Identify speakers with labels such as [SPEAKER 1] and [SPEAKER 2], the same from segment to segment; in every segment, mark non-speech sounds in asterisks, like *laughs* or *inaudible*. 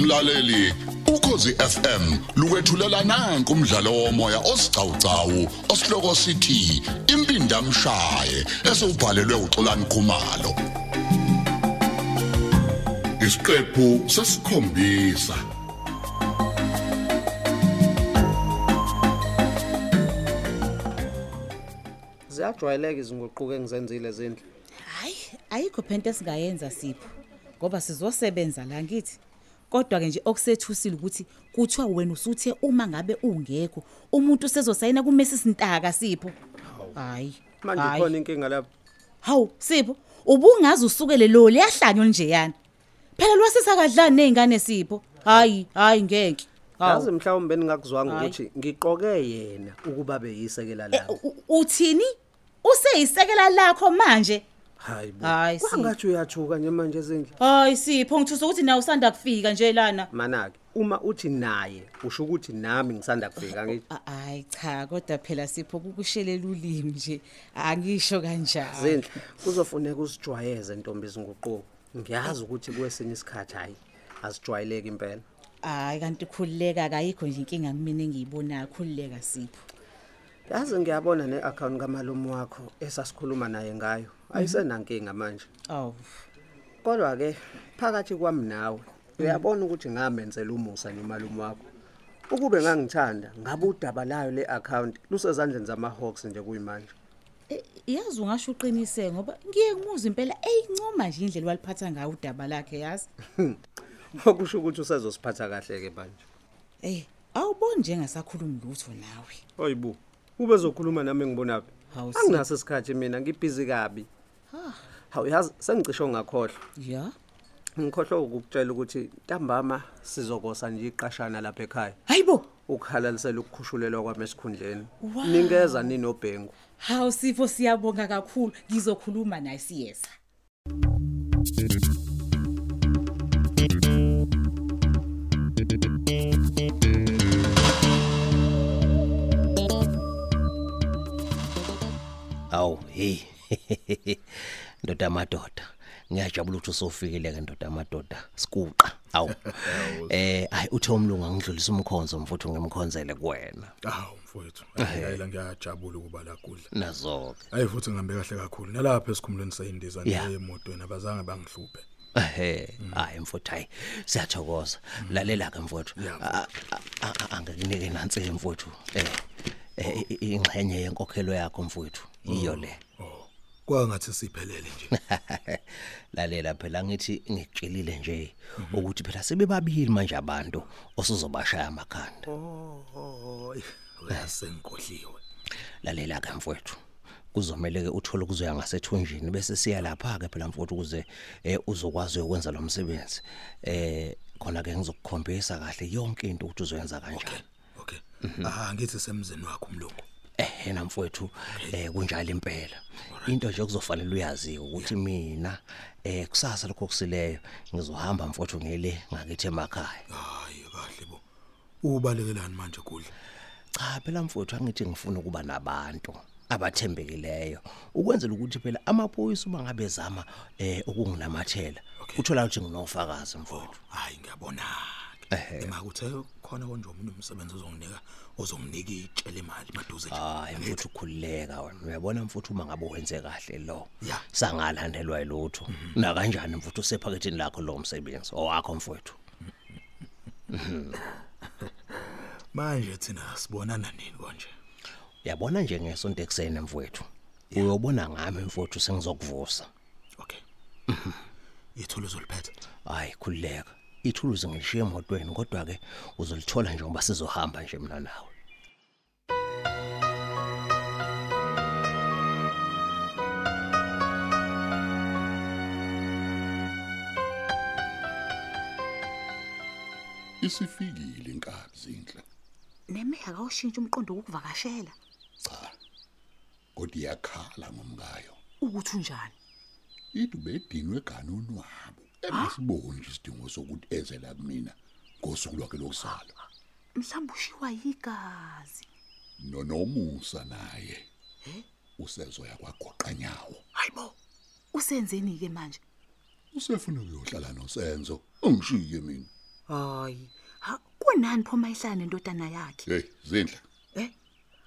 [SPEAKER 1] mlaleli ukhosi FM lukwethulela nanku umdlalo womoya osiqhawqhawo osihloko sithi impinda mshaye esubhalelwe uXolani Khumalo isiqephu sesikhombisa
[SPEAKER 2] ziyajwayeleka izinguquko engizenzile zendlu
[SPEAKER 3] hayi ayikho phento esingayenza sipho ngoba sizosebenza la ngithi kodwa-ke nje okusethusile ukuthi kuthiwa wena usuthe uma ngabe ungekho umuntu usezosayina kumesi sintaka sipho hayi
[SPEAKER 2] manje
[SPEAKER 3] hayi.
[SPEAKER 2] ikhona inkinga lapho
[SPEAKER 3] hawu sipho ubungazi usukele lo liyahlanywa njeyana phela lwasisa kadlani ney'ngane sipho hayi hayi ngeke
[SPEAKER 2] yazi mhlawumbe ningakuzwanga
[SPEAKER 3] Hhayi.
[SPEAKER 2] ukuthi ngiqoke yena ukuba beyisekela
[SPEAKER 3] E,
[SPEAKER 2] lawo
[SPEAKER 3] u- u- uthini useyisekela lakho manje
[SPEAKER 2] hayi bo
[SPEAKER 3] Hhayi, Sipho.
[SPEAKER 2] kwangathi uyathuka nje manje zindlu
[SPEAKER 3] hayi sipho ngithusa ukuthi nawe usanda kufika nje lana
[SPEAKER 2] manake uma uthi naye usho ukuthi nami ngisanda kufika ngithi
[SPEAKER 3] A- Ayi cha kodwa phela sipho kukushelela ulimi nje angisho kanjalo.
[SPEAKER 2] zindlu kuzofuneka usijwayeze ntombi izinguquko ngiyazi ukuthi kwesinye isikhathi hayi asijwayeleki impela
[SPEAKER 3] Hayi kanti khulileka kayikho nje inkinga kumina engiyibonayo khulileka sipho.
[SPEAKER 2] yazi ngiyabona ne-akhawunti kamalume wakho esasikhuluma naye ngayo ayisenankinga manje
[SPEAKER 3] Aw.
[SPEAKER 2] kodwa ke phakathi kwami nawe uyabona ukuthi ngamenzela umusa nomalume wakho ukube ngangithanda ngabe udaba layo le account lusezandleni zama-hawks nje kuyimanje
[SPEAKER 3] E- Yazi ungasho uqinise ngoba ngiye kumuzwa impela eyincoma nje indlela waliphatha ngayo udaba lakhe yazi.
[SPEAKER 2] okusho ukuthi usezosiphatha kahle-ke manje
[SPEAKER 3] Eh awuboni njengasakhulumi lutho nawe.
[SPEAKER 2] oyibu ubezokhuluma nami ngibonaphi
[SPEAKER 3] Hawu, Sipho.
[SPEAKER 2] anginaso isikhathi mina ngibhizi kabi
[SPEAKER 3] Ha.
[SPEAKER 2] hawu yazi sengicishe ungakhohlwa
[SPEAKER 3] Ya.
[SPEAKER 2] ngikhohlwe ukukutshela ukuthi ntambama sizokosa nje iqashana lapha ekhaya
[SPEAKER 3] Hayibo.
[SPEAKER 2] ukuhalalisela ukukhushulelwa kwami esikhundleni
[SPEAKER 3] Wow.
[SPEAKER 2] ninkeza ninobhengu
[SPEAKER 3] Hawu sipho siyabonga kakhulu. Ngizokhuluma naye siyeza.
[SPEAKER 4] awu hey *laughs* ndoda madoda ngiyajabula ukuthi usofikile ke ndoda madoda sikuqa awu eh ayi uthe umlungu angidlulisa umkhonzo mfuthu ngimkhonzele kuwena
[SPEAKER 5] Aw mfowethu, ayila ngiyajabula ukuba la kudla.
[SPEAKER 4] nazo ke
[SPEAKER 5] Hayi futhi ngihambe kahle kakhulu. Nalapha esikhumulweni seyindiza
[SPEAKER 4] Yeah.
[SPEAKER 5] nje emotweni abazange bangihluphe.
[SPEAKER 4] ehe hayi mfuthu hayi siyathokoza lalela ke mfuthu
[SPEAKER 5] Yeah,
[SPEAKER 4] A- a- a- a- angikunike nansi ke mfuthu eh eh, i- i- ingxenye yenkokhelo yakho mfuthu iyo le
[SPEAKER 5] Oh. Kwangathi siphelele nje.
[SPEAKER 4] *laughs* lalela phela ngithi ngikutshelile nje ukuthi phela sebebabili manje abantu osuzobashaya amakhanda
[SPEAKER 5] Oh, uyasengkohliwe.
[SPEAKER 4] lalela ke mfowethu kuzomele ke uthole ukuzoya ngasethunjini bese siya lapha ke phela mfowethu ukuze eh, uzokwazi ukwenza lo msebenzi eh khona ke ngizokukhombisa kahle yonke into ukuthi uzoyenza kanjani
[SPEAKER 5] Okay. Ah ngithi semzini wakho umlungu.
[SPEAKER 4] eh yena mfowethu eh kunjalo impela into nje kuzofanele uyaziwe ukuthi mina eh kusasa lokho kusileyo ngizohamba mfowethu ngile ngakithi emakhaya
[SPEAKER 5] Hayi kahle bo. Ubalekelani manje kudla?
[SPEAKER 4] cha phela mfowethu angithi ngifuna ukuba nabantu abathembekileyo ukwenzela ukuthi phela amaphoyisa uma ngabe zama eh ukunginamathela
[SPEAKER 5] Okay.
[SPEAKER 4] uthola ukuthi nginofakazi mfowethu
[SPEAKER 5] Hayi ngiyabona. Ema kuthe khona konje umuntu umsebenzi ozonginika ozonginika itshele imali maduze nje.
[SPEAKER 4] hayi mfowethu khulileka wena uyabona mfowethu uma ngabe wenze kahle lo
[SPEAKER 5] Yeah.
[SPEAKER 4] sangalandelwa yilutho na kanjani mfowethu usephakethini lakho lo msebenzi owakho mfowethu
[SPEAKER 5] Manje thina sibonana nini konje?
[SPEAKER 4] uyabona nje ngesonto ekuseni mfowethu uyobona ngami mfowethu sengizokuvusa
[SPEAKER 5] Okay. Yithulu uzoliphetha.
[SPEAKER 4] hayi khulileka ithuluzi ngilishiye emotweni kodwa ke uzolithola njengoba sizohamba nje mina nawe
[SPEAKER 1] isifikile inkabi zinhle
[SPEAKER 3] Neme akawushintshi umqondo wokuvakashela.
[SPEAKER 1] cha kodwa iyakhala ngomkayo
[SPEAKER 3] Ukuthi unjani?
[SPEAKER 1] ithi bedinwe ganoni wabo ebesiboni nje isidingo sokuthi eze la kumina ngosuku lwakhe lokuzala
[SPEAKER 3] mhlawumbe ushiwa yigazi
[SPEAKER 1] nonomusa naye usezoya kwagoqa nyawo
[SPEAKER 3] hayibo usenzeni-ke manje
[SPEAKER 1] usefuna ukuyohlala nosenzo ungishiye mina
[SPEAKER 6] hayi ha kunani pho mayihlala nendodana yakhe
[SPEAKER 1] hey zindla
[SPEAKER 6] Eh?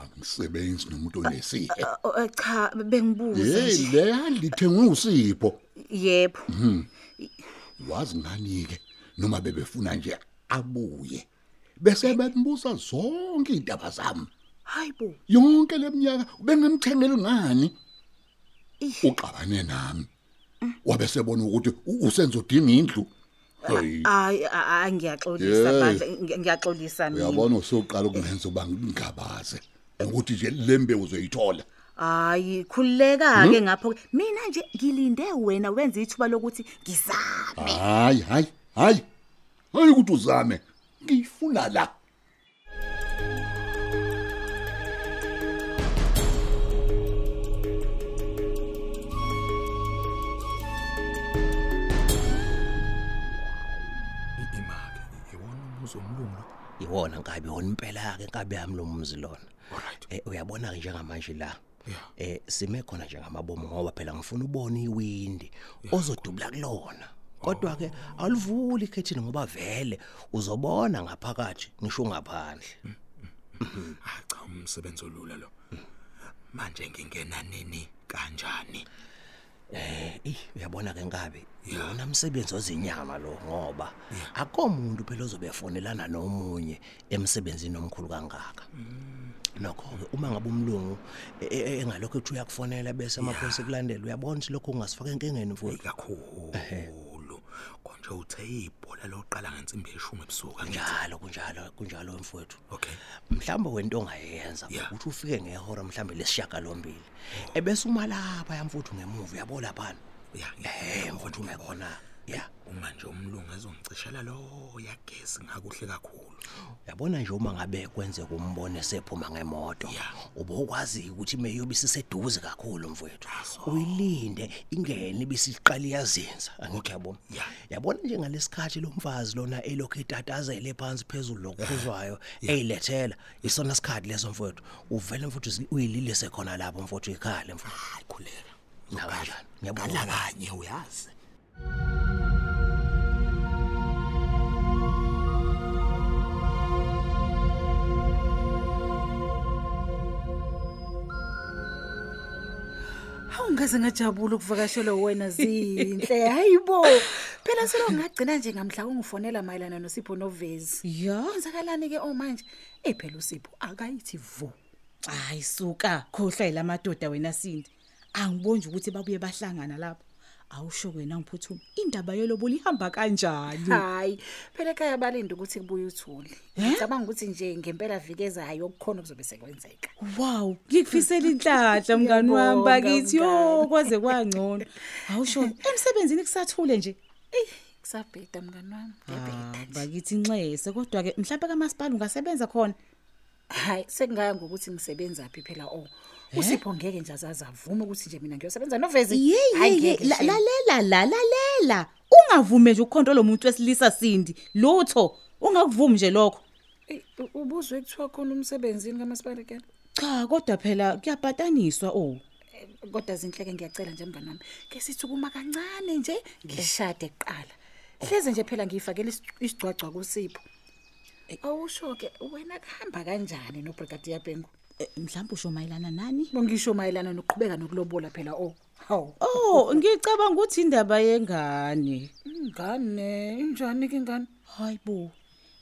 [SPEAKER 1] angisebenzi nomuntu onesihe
[SPEAKER 6] Oh, eh, cha bengibuza
[SPEAKER 1] hey
[SPEAKER 6] nje
[SPEAKER 1] leya lithengwe usipho
[SPEAKER 6] yebo
[SPEAKER 1] wazi ngani ke noma bebefuna nje abuye bese bembuza zonke indaba zami
[SPEAKER 6] hayibo
[SPEAKER 1] yonke leminyaka ubengamthengeli ngani
[SPEAKER 6] Ih.
[SPEAKER 1] uqabane nami wabesebona ukuthi u- usenzo udinga indlu hayi
[SPEAKER 6] hayi a- a- ngiyaxolisa
[SPEAKER 1] Yey.
[SPEAKER 6] bandla ngi- ngiyaxolisa mina
[SPEAKER 1] uyabona usoqala ukungenza uba ngingabaze ukuthi nje lembe uzoyithola
[SPEAKER 6] hayi khululeka
[SPEAKER 1] Hmm?
[SPEAKER 6] ke ngapho mina nje ngilinde wena wenze ithuba lokuthi ngizame
[SPEAKER 1] hayi hayi hayi hayi ukuthi uzame ngiyifuna la
[SPEAKER 5] imake iwona umbuzo omlungu lo
[SPEAKER 4] iwona nkabi wona impela ke nkabi yami lo mzi lona
[SPEAKER 5] alright
[SPEAKER 4] eh uyabona ke njengamanje la
[SPEAKER 5] Yeah.
[SPEAKER 4] eh sime khona njengamabomo ngoba phela ngifuna ubone iwindi ozodubula kulona kodwa ke alivuli ikhethini ngoba vele uzobona ngaphakathi ngisho ngaphandle
[SPEAKER 5] hayi Ah, cha umsebenzi olula lo manje ngingena nini kanjani
[SPEAKER 4] Eh, uyabona ke nkabi yona umsebenzi ozinyama lo ngoba akho umuntu phela ozobefonelana nomunye emsebenzini omkhulu kangaka nokho ke uma ngabe umlungu e- e- engalokho ethi uyakufonela bese amaphoyisa kulandela uyabona ukuthi lokho kungasifaka enkingeni mfowethu
[SPEAKER 5] kakhulu konje uthe ibhola loqala ngensimbi yeshumi ebusuku angithi
[SPEAKER 4] kunjalo kunjalo kunjalo mfowethu
[SPEAKER 5] okay
[SPEAKER 4] mhlawumbe wento ongayenza
[SPEAKER 5] Yeah.
[SPEAKER 4] ukuthi ufike ngehora mhlawumbe lesishiyagalombili ebese uma lapha yamfuthu ngemuva uyabo laphana
[SPEAKER 5] ya
[SPEAKER 4] ehe mfowethu uma khona ya
[SPEAKER 5] uma nje umlungu ezongicishela lo yagesi ngakuhle kakhulu
[SPEAKER 4] yabona nje uma ngabe kwenzeka umbone esephuma ngemoto
[SPEAKER 5] Yeah.
[SPEAKER 4] ubokwazi ukuthi meyobe isiseduze kakhulu mfowethu uyilinde ingene ibisiqala iyazinza angikho yabona
[SPEAKER 5] Yeah.
[SPEAKER 4] yabona nje ngalesikhathi lo mfazi lona elokhu etatazele phansi phezulu lokukhuzwayo eyilethela isona sikhathi leso mfowethu uvele mfowethu uzi- uyililise khona lapho mfowethu ikhale mfowethu
[SPEAKER 5] hayi khuleka
[SPEAKER 4] nakanjani
[SPEAKER 5] ngala
[SPEAKER 4] ngiyabona
[SPEAKER 5] kanye uyazi
[SPEAKER 7] hawu ngaze ngajabula ukuvakashelwa
[SPEAKER 6] *laughs*
[SPEAKER 7] wena zinhle hayi bo phela selo ngagcina nje ngamhla ungifonela mayelana nosipho novezi
[SPEAKER 3] ya
[SPEAKER 7] kwenzakalani-ke
[SPEAKER 6] Oh,
[SPEAKER 7] omanje eyi phela usipho akayithi vu
[SPEAKER 3] hayi suka khohlwa yila madoda wena sindi angibonje ukuthi babuye bahlangana lapho awusho wena ngiphuthuma indaba yolobula ihamba kanjani
[SPEAKER 7] hayi phela ekhaya balinde ukuthi kubuye uthule
[SPEAKER 3] Eh?
[SPEAKER 7] ngicabanga ukuthi nje ngempela vikezayo okukhona kuzobe sekwenzeka
[SPEAKER 3] wow ngikufisela
[SPEAKER 7] *laughs*
[SPEAKER 3] inhlanhla mngani wami
[SPEAKER 7] Ngiyabonga,
[SPEAKER 3] bakithi yo
[SPEAKER 7] mngani.
[SPEAKER 3] kwaze kwangcono awusho emsebenzini kusathule nje
[SPEAKER 7] eyi kusabheda mngani wami
[SPEAKER 3] Ah,
[SPEAKER 7] ngiyabheda nje
[SPEAKER 3] bakithi inxese kodwa ke mhlawumbe kamasipala ungasebenza khona
[SPEAKER 7] hayi sekungaya ngokuthi ngisebenza phi phela o
[SPEAKER 3] Eh?
[SPEAKER 7] usipho ngeke nje azazavume ukuthi nje mina ngiyosebenza novezi Hhayi,
[SPEAKER 3] yeyeye
[SPEAKER 7] ngeke shame.
[SPEAKER 3] lalela la lalela ungavumi nje ukukhonto lo muntu wesilisa sindi lutho ungakuvumi nje lokho
[SPEAKER 7] Eyi, u- ubuzwe kuthiwa khona umsebenzini kamasipala kena
[SPEAKER 3] cha kodwa phela oh. kuyapataniswa o
[SPEAKER 7] kodwa zinhleke ngiyacela nje mngani wami ke sithukuma kancane nje ngishade kuqala hleze nje phela ngiyifakela isi- isigcwagcwa kusipho awusho-ke wena kuhamba kanjani nobrigadi yabengu
[SPEAKER 3] Eh, mhlawumbe usho mayelana nani
[SPEAKER 7] bongisho mayelana nokuqhubeka nokulobola phela o hawu
[SPEAKER 3] oh ngicabanga ukuthi indaba yengane
[SPEAKER 7] ingane injani-ke ingane
[SPEAKER 3] hayi bo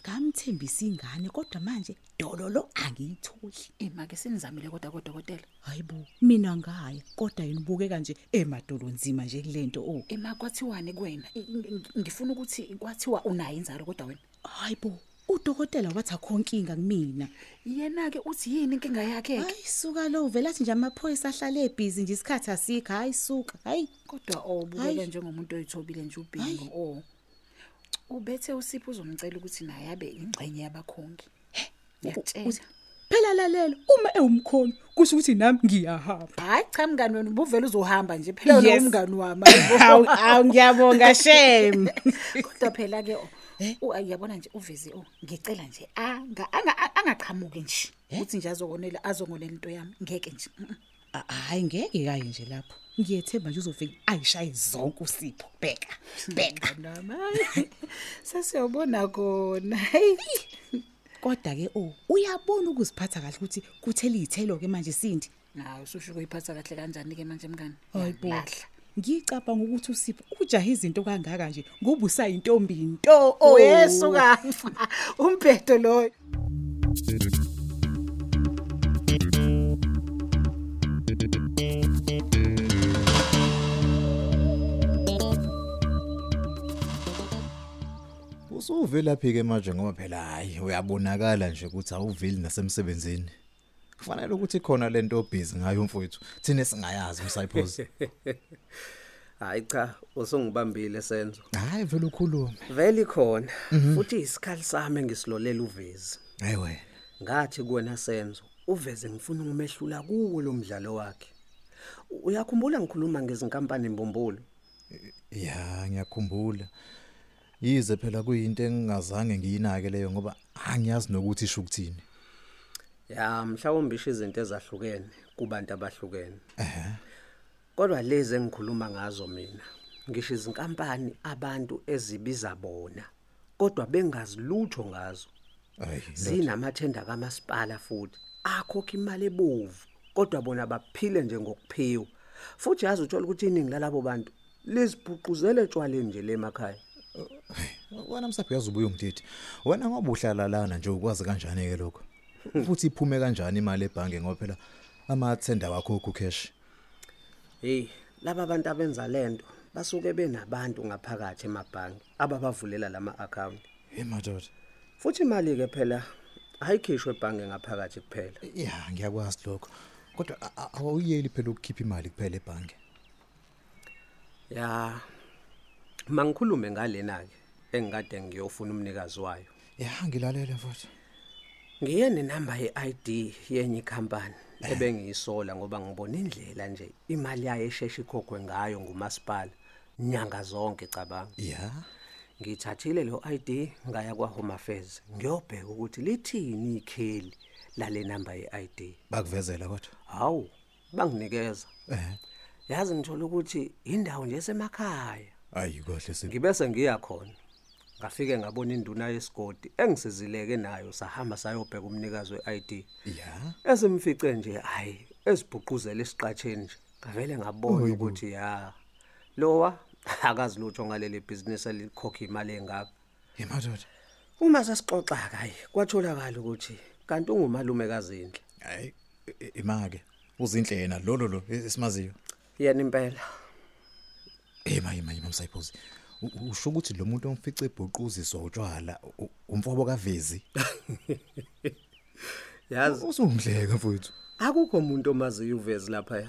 [SPEAKER 3] ngamthembisa ingane kodwa manje dololo angiyitholi
[SPEAKER 7] ima-ke sinizamile kodwa kodokotela
[SPEAKER 3] hayi bo mina ngaya kodwa yena ubukeka nje emadolonzima nje kulento o
[SPEAKER 7] ima kwathiwani kuwena I- ngi- ngi- ngifuna ukuthi kwathiwa unayo inzalo kodwa wena
[SPEAKER 3] hayi bo udokotela wathi akho nkinga kumina
[SPEAKER 7] yena-ke uthi yini inkinga yakhe-ke
[SPEAKER 3] hayi suka lo uvela athi nje amaphoyisa ahlale ebhizi nje isikhathi asikho hayi suka hayi
[SPEAKER 7] kodwa obukeka
[SPEAKER 3] Hayi.
[SPEAKER 7] njengomuntu oyithobile nje ubhingo o ubethe usipho uzomcela ukuthi naye abe ingxenye yabakhongi ngiyakutshela
[SPEAKER 3] phela lalela uma ewumkhoni kusho ukuthi nami ngiyahamba
[SPEAKER 7] hayi cha mngani wena ubuvele uzohamba nje phela lo
[SPEAKER 3] Yes.
[SPEAKER 7] umngani wami ayibo.
[SPEAKER 3] *laughs* awu ngiyabonga
[SPEAKER 7] *laughs*
[SPEAKER 3] shem
[SPEAKER 7] kodwa phela-ke o, u- ayi, yabona nje uvezi o ngicela nje anga- anga- angaqhamuki nje ukuthi nje azokonela azokonela into yami ngeke nje Mm, mm.
[SPEAKER 3] A- Hhayi ngeke kaye nje lapho. Ngiyethemba nje uzofika ayishaye zonke usipho. Bheka. Bheka.
[SPEAKER 7] Nami. Sesiyobona kona. Hey.
[SPEAKER 3] Kodwa ke o oh, uyabona ukuziphatha kahle ukuthi kuthele izithelo ke manje Sindi.
[SPEAKER 7] Nawu ususho ukuyiphatha kahle kanjani ke manje mngani?
[SPEAKER 3] Hayi bo.
[SPEAKER 7] Lahla.
[SPEAKER 3] Ngicabanga ukuthi usipho ujahe izinto kangaka nje ngoba usayintombi into.
[SPEAKER 7] Oh, yesuka. Umphetho loyo.
[SPEAKER 8] Usuvelaphi ke manje ngoba phela hayi uyabonakala nje ukuthi awuveli nasemsebenzini. Kufanele ukuthi khona lento obhizi ngayo mfowethu. Thina singayazi umsayiphozi.
[SPEAKER 2] Hayi cha, usungibambile senzo.
[SPEAKER 8] Hayi vele ukhuluma.
[SPEAKER 2] Vele khona. Futhi isikhali sami engisilolela uvezi.
[SPEAKER 8] Hayiwe.
[SPEAKER 2] Ngathi kuwena senzo, uveze ngifuna ukumehlula kuwo lo mdlalo wakhe. U- Uyakhumbula ngikhuluma ngezinkampani imbombulo?
[SPEAKER 8] Ya ngiyakhumbula. Yize phela kuyinto engingazange ngiyinake leyo ngoba angiyazi nokuthi isho ukuthini.
[SPEAKER 2] Ya, mhlawumbe isho izinto ezahlukene kubantu abahlukene. Eh. Kodwa lezi engikhuluma ngazo mina, ngisho izinkampani abantu ezibiza bona, kodwa bengazilutho ngazo.
[SPEAKER 8] Hayi.
[SPEAKER 2] Zinamathenda kamasipala futhi, akhokha imali ebovu, kodwa bona baphile nje ngokuphiwa. Futhi yazi uthola ukuthi iningi lalabo bantu lizibhuquzele tshwale nje lemakhaya.
[SPEAKER 8] Wena msaphi uyazubuya umthithi. Wena ngoba uhlala lana nje ukwazi kanjani ke lokho? Futhi iphume kanjani imali ebhange ngoba phela amathenda wakho ukucash.
[SPEAKER 2] Hey, laba bantu abenza lento basuke benabantu ngaphakathi emabhangi ababavulela lama account.
[SPEAKER 8] Hey madod.
[SPEAKER 2] Futhi imali ke phela ayikhishwe ebhange ngaphakathi kuphela.
[SPEAKER 8] Ya ngiyakwazi lokho. Kodwa a- a- awuyeli phela ukukhipha imali kuphela ebhange.
[SPEAKER 2] Ya. Mangikhulume ngalena ke engikade ngiyofuna umnikazi wayo.
[SPEAKER 8] Ya ngilalela mfowethu.
[SPEAKER 2] Ngiye nenamba ye-ID yenye ikhampani ebengiyisola ngoba ngibona indlela nje imali yayo esheshe ikhokhwe ngayo ngumasipala nyanga zonke cabanga.
[SPEAKER 8] Ya.
[SPEAKER 2] Ngithathile lo ID ngaya kwa Home Affairs ngiyobheka ukuthi lithini ikheli lale namba ye-ID.
[SPEAKER 8] Bakuvezela kodwa.
[SPEAKER 2] Hawu, banginikeza.
[SPEAKER 8] Eh.
[SPEAKER 2] Yazi ngithola ukuthi indawo nje esemakhaya.
[SPEAKER 8] Ayi kahle sipho.
[SPEAKER 2] Ngibe sengiya khona. Ngafike ngabona induna yesigodi engisizileke nayo sahamba sayobheka umnikazi we-ID.
[SPEAKER 8] Ya.
[SPEAKER 2] Esimfice nje hayi ezibhuquzela esiqatheni nje. Ngavele ngabona ukuthi ya lowa akazilutho ngaleli business elikhokha imali engaka.
[SPEAKER 8] Hey madod.
[SPEAKER 2] Uma sasixoxa kayi kwatholakala ukuthi kanti ungumalume kazindle.
[SPEAKER 8] Hayi E, imake. Uzinhle yena lo lo lo e- esimaziyo.
[SPEAKER 2] Yena impela.
[SPEAKER 8] Eh maye maye mamsayiphozi. U- Usho ukuthi lo muntu omfica ebhuquziswa utshwala u- u- umfobo kavezi.
[SPEAKER 2] Yazi
[SPEAKER 8] Usungidleka mfowethu.
[SPEAKER 2] akukho umuntu omaziyo uvezi lapha.
[SPEAKER 8] Hayi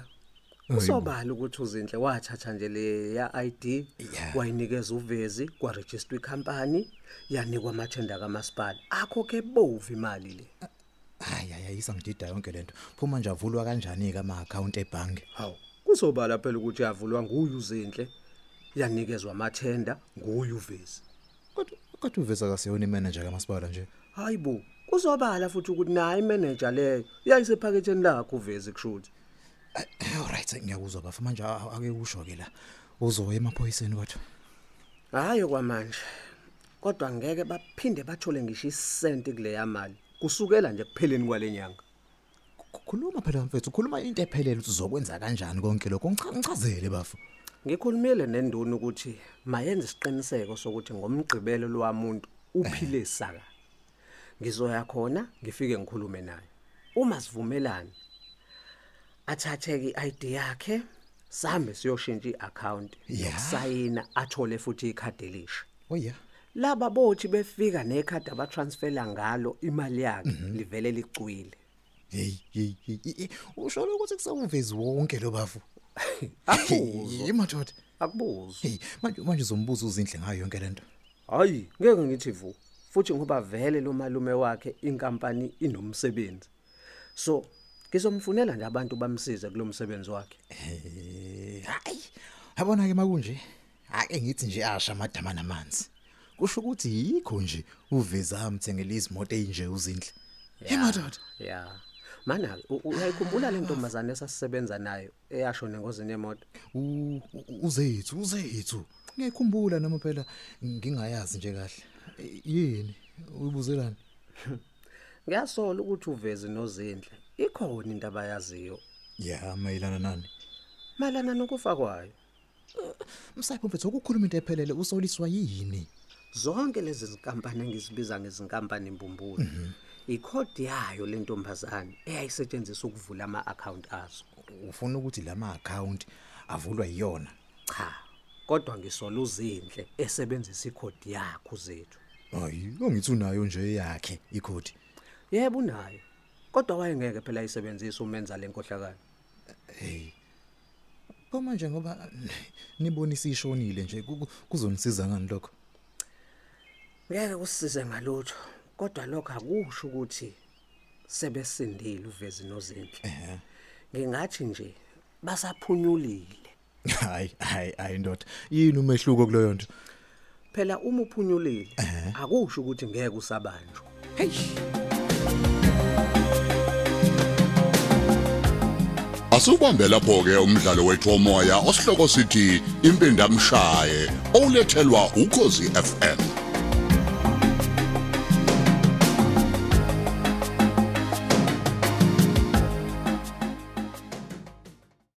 [SPEAKER 8] bo.
[SPEAKER 2] Usobala ukuthi uzinhle wathatha nje le ya ID
[SPEAKER 8] Yeah.
[SPEAKER 2] wayinikeza uvezi kwa register ikhampani yanikwa amathenda kamasipala. Akho ke bovu imali le.
[SPEAKER 8] Hayi hayi isangidida yonke lento. Phuma nje avulwa kanjani ke ama account ebhange?
[SPEAKER 2] Hawu, kusobala phela ukuthi yavulwa nguye uzinhle yanikezwa amathenda nguye uvezi.
[SPEAKER 8] Kodwa kodwa uveza kaseyona imanager kamasipala nje.
[SPEAKER 2] Hayibo, kusobala futhi ukuthi naye imanager leyo yayisephaketheni lakhe uvezi kushuthi.
[SPEAKER 8] Alright ngiyakuzwa bafa manje a- ake usho ke la. Uzoya emaphoyiseni kodwa.
[SPEAKER 2] Hayi kwamanje. Kodwa ngeke baphinde bathole ngisho isenti kule yamali. Kusukela nje kupheleni kwalenyanga.
[SPEAKER 8] K- Khuluma phela mfethu, khuluma into ephelele ukuthi uzokwenza kanjani konke lokho. Ngicha- Ngichazele bafu.
[SPEAKER 2] Ngikhulumile nenduna ukuthi mayenze isiqiniseko sokuthi ngomgqibelo lowamuntu uphile saka. Ngizoya khona ngifike ngikhulume naye. Uma sivumelana athathe ke iID yakhe sambe siyoshintsha iaccount
[SPEAKER 8] Yeah.
[SPEAKER 2] yokusayina athole futhi ikhadi elisha.
[SPEAKER 8] Oh yeah.
[SPEAKER 2] Laba bothi befika nekhadi abatransfera ngalo imali yakhe livele licwile.
[SPEAKER 8] Hey hey hey. Usho ukuthi kusawuvezi wonke lo bafu.
[SPEAKER 2] Akuzwa.
[SPEAKER 8] Yimadoda.
[SPEAKER 2] Akubuzwa.
[SPEAKER 8] Hey manje manje uzombuza uzinhle ngayo yonke lento.
[SPEAKER 2] Hayi, ngeke ngithi vu. Futhi ngoba vele lo malume wakhe inkampani inomsebenzi. So, ngizomfunela nje abantu bamsize kulomsebenzi wakhe.
[SPEAKER 8] Eh, hayi yabona ke makunje ake ngithi nje asha amadama namanzi kusho ukuthi yikho nje uveza amthengele izimoto ezinje uzinhle hey madoda
[SPEAKER 2] Ya. mana ke uyayikhumbula le ntombazane esasisebenza nayo eyashona engozini yemoto
[SPEAKER 8] U- u- uzethu uzethu ngiyakhumbula noma phela ngingayazi nje kahle Eh, yini uyibuzelani
[SPEAKER 2] ngiyasola ukuthi uveze nozinhle ikhona into abayaziyo
[SPEAKER 8] ya mayelana nani
[SPEAKER 2] malana nokufa kwayo
[SPEAKER 8] msayipho mfethu ukukhuluma into ephelele usoliswa yini *laughs*
[SPEAKER 2] zonke lezi zinkampani engizibiza ngezinkampani imbumbulo ikhodi yayo le ntombazane eyayisetshenziswa ukuvula ama-akhawunti azo
[SPEAKER 8] ufuna ukuthi lama account avulwa yiyona
[SPEAKER 2] cha kodwa ngisola uzinhle esebenzisa ikhodi yakho zethu
[SPEAKER 8] hayi ongithi unayo nje yakhe ikhodi
[SPEAKER 2] yebo unayo kodwa wayengeke phela ayisebenzise umenza le nkohlakalo
[SPEAKER 8] pho manje ngoba nibonisa ishonile nje ku- ku- kuzonisiza ngani lokho
[SPEAKER 2] ngeke kusisize ngalutho kodwa lokho akusho ukuthi sebesindile uvezi nozinhle ngingathi nje basaphunyulile
[SPEAKER 8] hayi hayi hayi ndoda yini umehluko kuleyo nto
[SPEAKER 2] phela uma uphunyulile akusho ukuthi ngeke usabanjwe
[SPEAKER 1] Asubambe lapho ke umdlalo wethu omoya osihloko sithi impindamshaye olethelwa ukozi FM.